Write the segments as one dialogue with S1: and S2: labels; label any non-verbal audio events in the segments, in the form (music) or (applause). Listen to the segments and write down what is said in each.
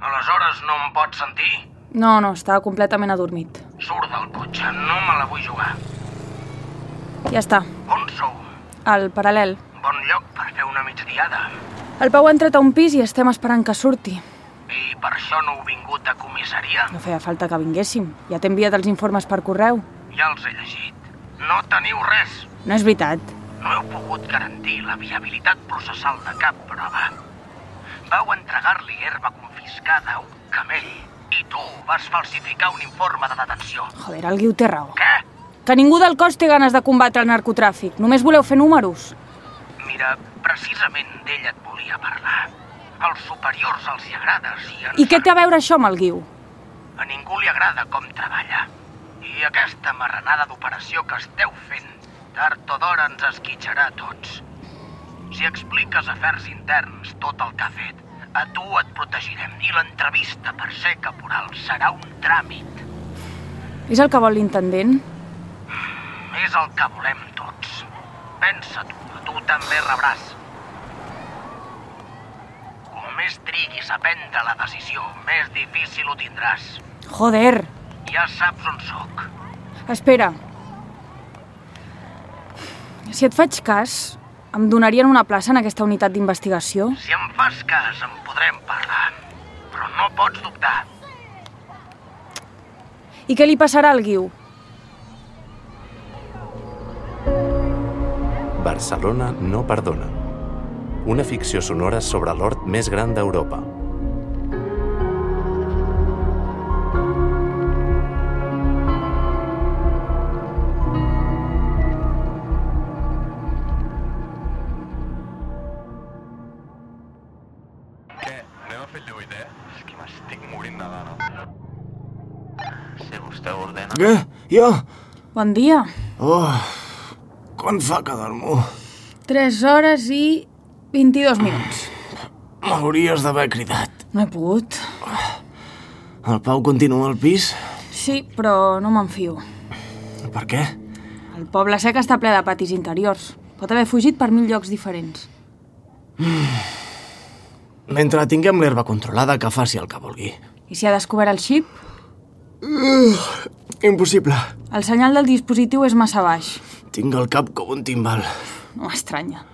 S1: Aleshores no em pots sentir?
S2: No, no, està completament adormit.
S1: Surt del cotxe, no me la vull jugar.
S2: Ja està,
S1: On sou?
S2: al paral·lel.
S1: Bon lloc per fer una migdiada.
S2: El Pau ha entrat a un pis i estem esperant que surti.
S1: I per això no heu vingut a comissaria?
S2: No feia falta que vinguéssim. Ja t'he enviat els informes per correu.
S1: Ja els he llegit. No teniu res.
S2: No és veritat.
S1: No heu pogut garantir la viabilitat processal de cap prova. Vau entregar-li herba confiscada a un camell i tu vas falsificar un informe de detenció.
S2: Joder, el Guiu té raó.
S1: Què?
S2: Que ningú del cos té ganes de combatre el narcotràfic. Només voleu fer números.
S1: Mira, precisament d'ell et volia parlar. Als superiors els hi agrades i... ens
S2: I què té a veure això amb el Guiu?
S1: A ningú li agrada com treballa. I aquesta marranada d'operació que esteu fent, tard o d'hora ens esquitxarà a tots. Si expliques afers interns tot el que ha fet, a tu et protegirem i l'entrevista per ser caporal serà un tràmit.
S2: És el que vol l'intendent?
S1: És el que volem tots. Pensa-t'ho, tu també rebràs. Com més triguis a prendre la decisió, més difícil ho tindràs.
S2: Joder!
S1: Ja saps on sóc.
S2: Espera. Si et faig cas, em donarien una plaça en aquesta unitat d'investigació?
S1: Si em fas cas, en podrem parlar. Però no pots dubtar.
S2: I què li passarà al Guiu?
S3: Barcelona no perdona. Una ficció sonora sobre l'hort més gran d'Europa.
S4: Què? Anem a fer lluit, eh? És que m'estic morint de gana. Si vostè ordena...
S5: Què? Jo?
S2: Bon dia.
S5: Oh, quan fa que dormo?
S2: 3 hores i 22 minuts.
S5: M'hauries d'haver cridat.
S2: No he pogut.
S5: El Pau continua al pis?
S2: Sí, però no me'n fio.
S5: Per què?
S2: El poble sec està ple de patis interiors. Pot haver fugit per mil llocs diferents.
S5: Mentre tinguem l'herba controlada, que faci el que vulgui.
S2: I si ha descobert el xip,
S5: Impossible.
S2: el senyal del dispositiu és massa baix.
S5: Tinc el cap com un timbal.
S2: No m'estranya.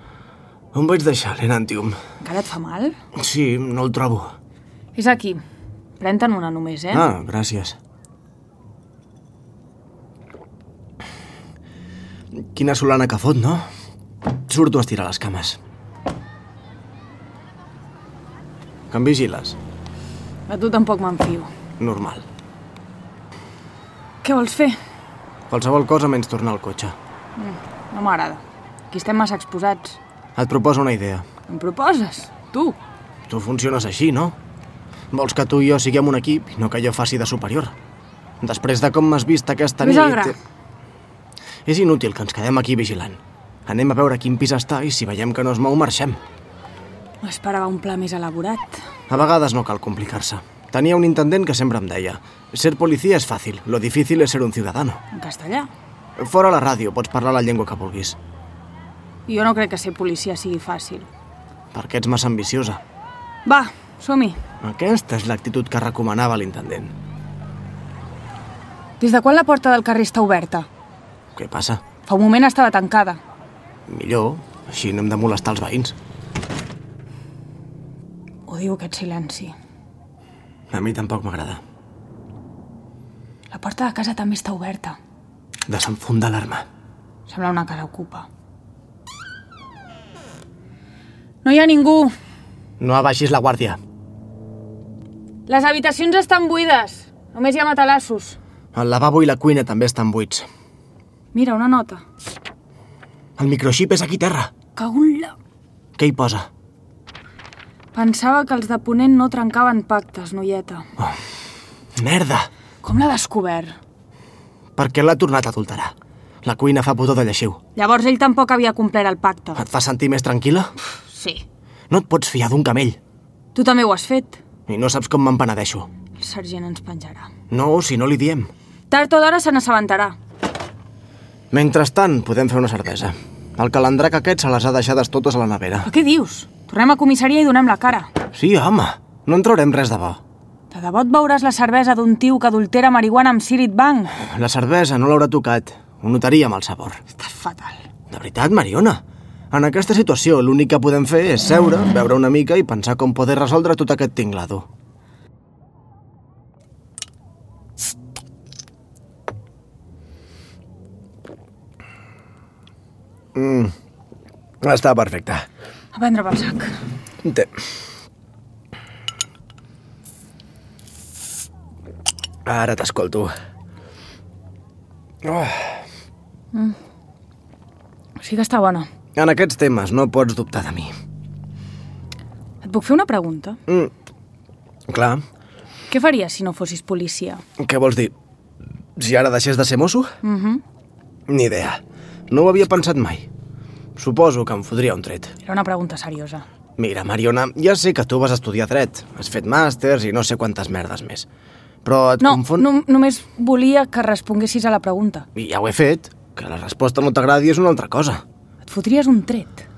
S5: On vaig deixar l'enantium?
S2: Encara et fa mal?
S5: Sí, no el trobo.
S2: És aquí. Pren-te'n una només, eh?
S5: Ah, gràcies. Quina solana que fot, no? Surto a estirar les cames. Que em vigiles.
S2: A tu tampoc me'n fio.
S5: Normal.
S2: Què vols fer?
S5: Qualsevol cosa menys tornar al cotxe.
S2: No m'agrada. Aquí estem massa exposats.
S5: Et proposo una idea.
S2: Em proposes? Tu?
S5: Tu funciones així, no? Vols que tu i jo siguem un equip i no que jo faci de superior. Després de com m'has vist aquesta
S2: Ves al
S5: nit... eh,
S2: gra.
S5: És inútil que ens quedem aquí vigilant. Anem a veure quin pis està i si veiem que no es mou, marxem.
S2: M'esperava un pla més elaborat.
S5: A vegades no cal complicar-se. Tenia un intendent que sempre em deia «Ser policia és fàcil, lo difícil és ser un ciudadano».
S2: En castellà.
S5: Fora la ràdio, pots parlar la llengua que vulguis.
S2: Jo no crec que ser policia sigui fàcil.
S5: Perquè ets massa ambiciosa.
S2: Va, som-hi.
S5: Aquesta és l'actitud que recomanava l'intendent.
S2: Des de quan la porta del carrer està oberta?
S5: Què passa?
S2: Fa un moment estava tancada.
S5: Millor, així no hem de molestar els veïns.
S2: Odio aquest silenci.
S5: A mi tampoc m'agrada.
S2: La porta de casa també està oberta.
S5: Desenfunda l'arma.
S2: Sembla una casa ocupa. No hi ha ningú.
S5: No abaixis la guàrdia.
S2: Les habitacions estan buides. Només hi ha matalassos.
S5: El lavabo i la cuina també estan buits.
S2: Mira, una nota.
S5: El microxip és aquí terra.
S2: Cago en la...
S5: Què hi posa?
S2: Pensava que els de Ponent no trencaven pactes, noieta.
S5: Merda!
S2: Com l'ha descobert?
S5: Per què l'ha tornat a adulterar? La cuina fa pudor de lleixiu.
S2: Llavors ell tampoc havia complert el pacte.
S5: Et fa sentir més tranquil·la?
S2: Sí.
S5: No et pots fiar d'un camell.
S2: Tu també ho has fet.
S5: I no saps com me'n penedeixo.
S2: El sergent ens penjarà.
S5: No, si no li diem.
S2: Tard o d'hora se n'assabentarà.
S5: Mentrestant, podem fer una cervesa. El calendrac aquest se les ha deixades totes a la nevera.
S2: Però què dius? Tornem a comissaria i donem la cara.
S5: Sí, home, no en traurem res de bo.
S2: De debò et veuràs la cervesa d'un tio que adultera marihuana amb Sirit Bank?
S5: La cervesa no l'haurà tocat. Ho notaria amb el sabor.
S2: Estàs fatal.
S5: De veritat, Mariona. En aquesta situació, l'únic que podem fer és seure, beure una mica i pensar com poder resoldre tot aquest tinglado. Mm. Està perfecte.
S2: A prendre pel sac.
S5: Té. Ara t'escolto. Oh.
S2: Sí que està bona.
S5: En aquests temes no pots dubtar de mi.
S2: Et puc fer una pregunta?
S5: Clar,
S2: Què faries si no fossis policia?
S5: què vols dir? Si ara deixés de ser mosso?
S2: Mhm.
S5: Ni idea. No ho havia pensat mai. Suposo que em fotria un tret.
S2: Era una pregunta seriosa.
S5: Mira, Mariona, ja sé que tu vas estudiar dret. Has fet màsters i no sé quantes merdes més. Però et
S2: No,
S5: confon...
S2: no, només volia que responguessis a la pregunta.
S5: I ja ho he fet. Que la resposta no t'agradi és una altra cosa.
S2: Et fotries un tret.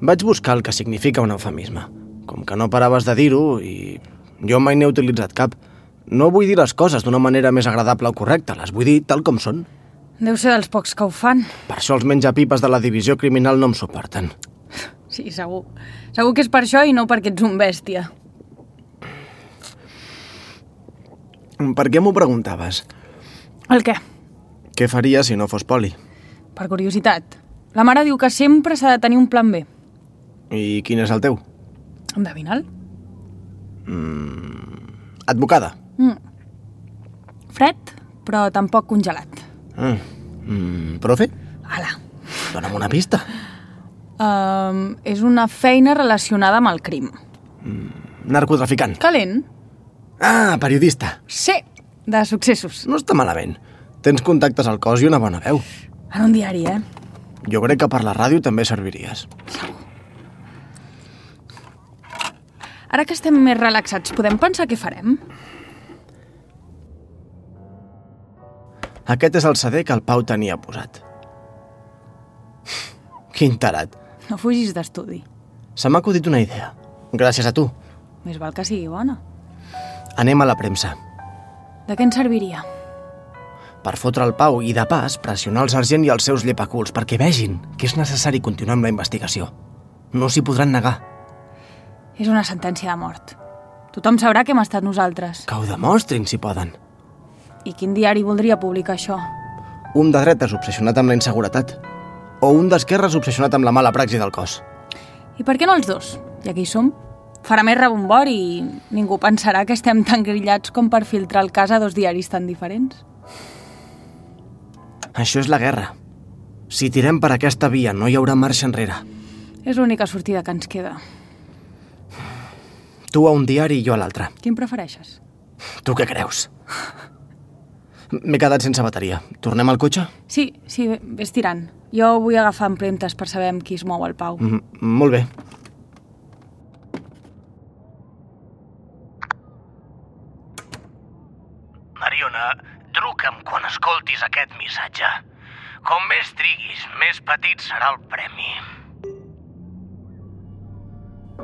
S5: Vaig buscar el que significa un eufemisme. Com que no paraves de dir-ho i... Jo mai n'he utilitzat cap. No vull dir les coses d'una manera més agradable o correcta. Les vull dir tal com són.
S2: Deu ser dels pocs que ho fan.
S5: Per això els menjapipes de la divisió criminal no em suporten.
S2: Sí, segur. Segur que és per això i no perquè ets un bèstia.
S5: Per què m'ho preguntaves?
S2: El què?
S5: Què faria si no fos poli?
S2: Per curiositat. La mare diu que sempre s'ha de tenir un plan B.
S5: I quin és el teu?
S2: Endevina'l.
S5: Advocada.
S2: Fred, però tampoc congelat.
S5: Mm. Mm, profe,
S2: Ala.
S5: dona'm una pista.
S2: Um, és una feina relacionada amb el crim.
S5: Narcotraficant.
S2: Calent?
S5: Ah, periodista.
S2: Sí, de successos.
S5: No està malament. Tens contactes al cos i una bona veu.
S2: En un diari, eh?
S5: Jo crec que per la ràdio també serviries.
S2: Ara que estem més relaxats, podem pensar què farem?
S5: Aquest és el CD que el Pau tenia posat. Quin tarat.
S2: No fugis d'estudi.
S5: Se m'ha acudit una idea. Gràcies a tu.
S2: Més val que sigui bona.
S5: Anem a la premsa.
S2: De què ens serviria?
S5: Per fotre el Pau i, de pas, pressionar el sergent i els seus llepaculs perquè vegin que és necessari continuar amb la investigació. No s'hi podran negar.
S2: És una sentència de mort. Tothom sabrà que hem estat nosaltres.
S5: Que ho demostrin, si poden.
S2: I quin diari voldria publicar això?
S5: Un de dretes obsessionat amb la inseguretat. O un d'esquerres obsessionat amb la mala praxi del cos.
S2: I per què no els dos? Ja que hi som. Farà més rebombori i ningú pensarà que estem tan grillats com per filtrar el cas a dos diaris tan diferents.
S5: Això és la guerra. Si tirem per aquesta via, no hi haurà marxa enrere.
S2: És l'única sortida que ens queda.
S5: Tu a un diari i jo a l'altre.
S2: Quin prefereixes?
S5: Tu què creus? (laughs) M'he quedat sense bateria. Tornem al cotxe?
S2: Sí, sí, vés tirant. Jo vull agafar empremtes per saber amb qui es mou el Pau.
S5: Mm, molt bé.
S1: Mariona, truca'm quan escoltis aquest missatge. Com més triguis, més petit serà el premi.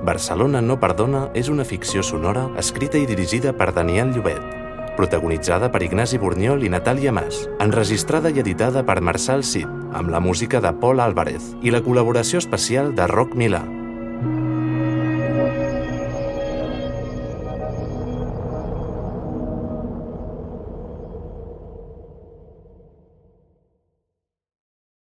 S3: Barcelona no perdona és una ficció sonora escrita i dirigida per Daniel Llobet, protagonitzada per Ignasi Borniol i Natàlia Mas, enregistrada i editada per Marçal Cid, amb la música de Paul Álvarez i la col·laboració especial de Roc Milà.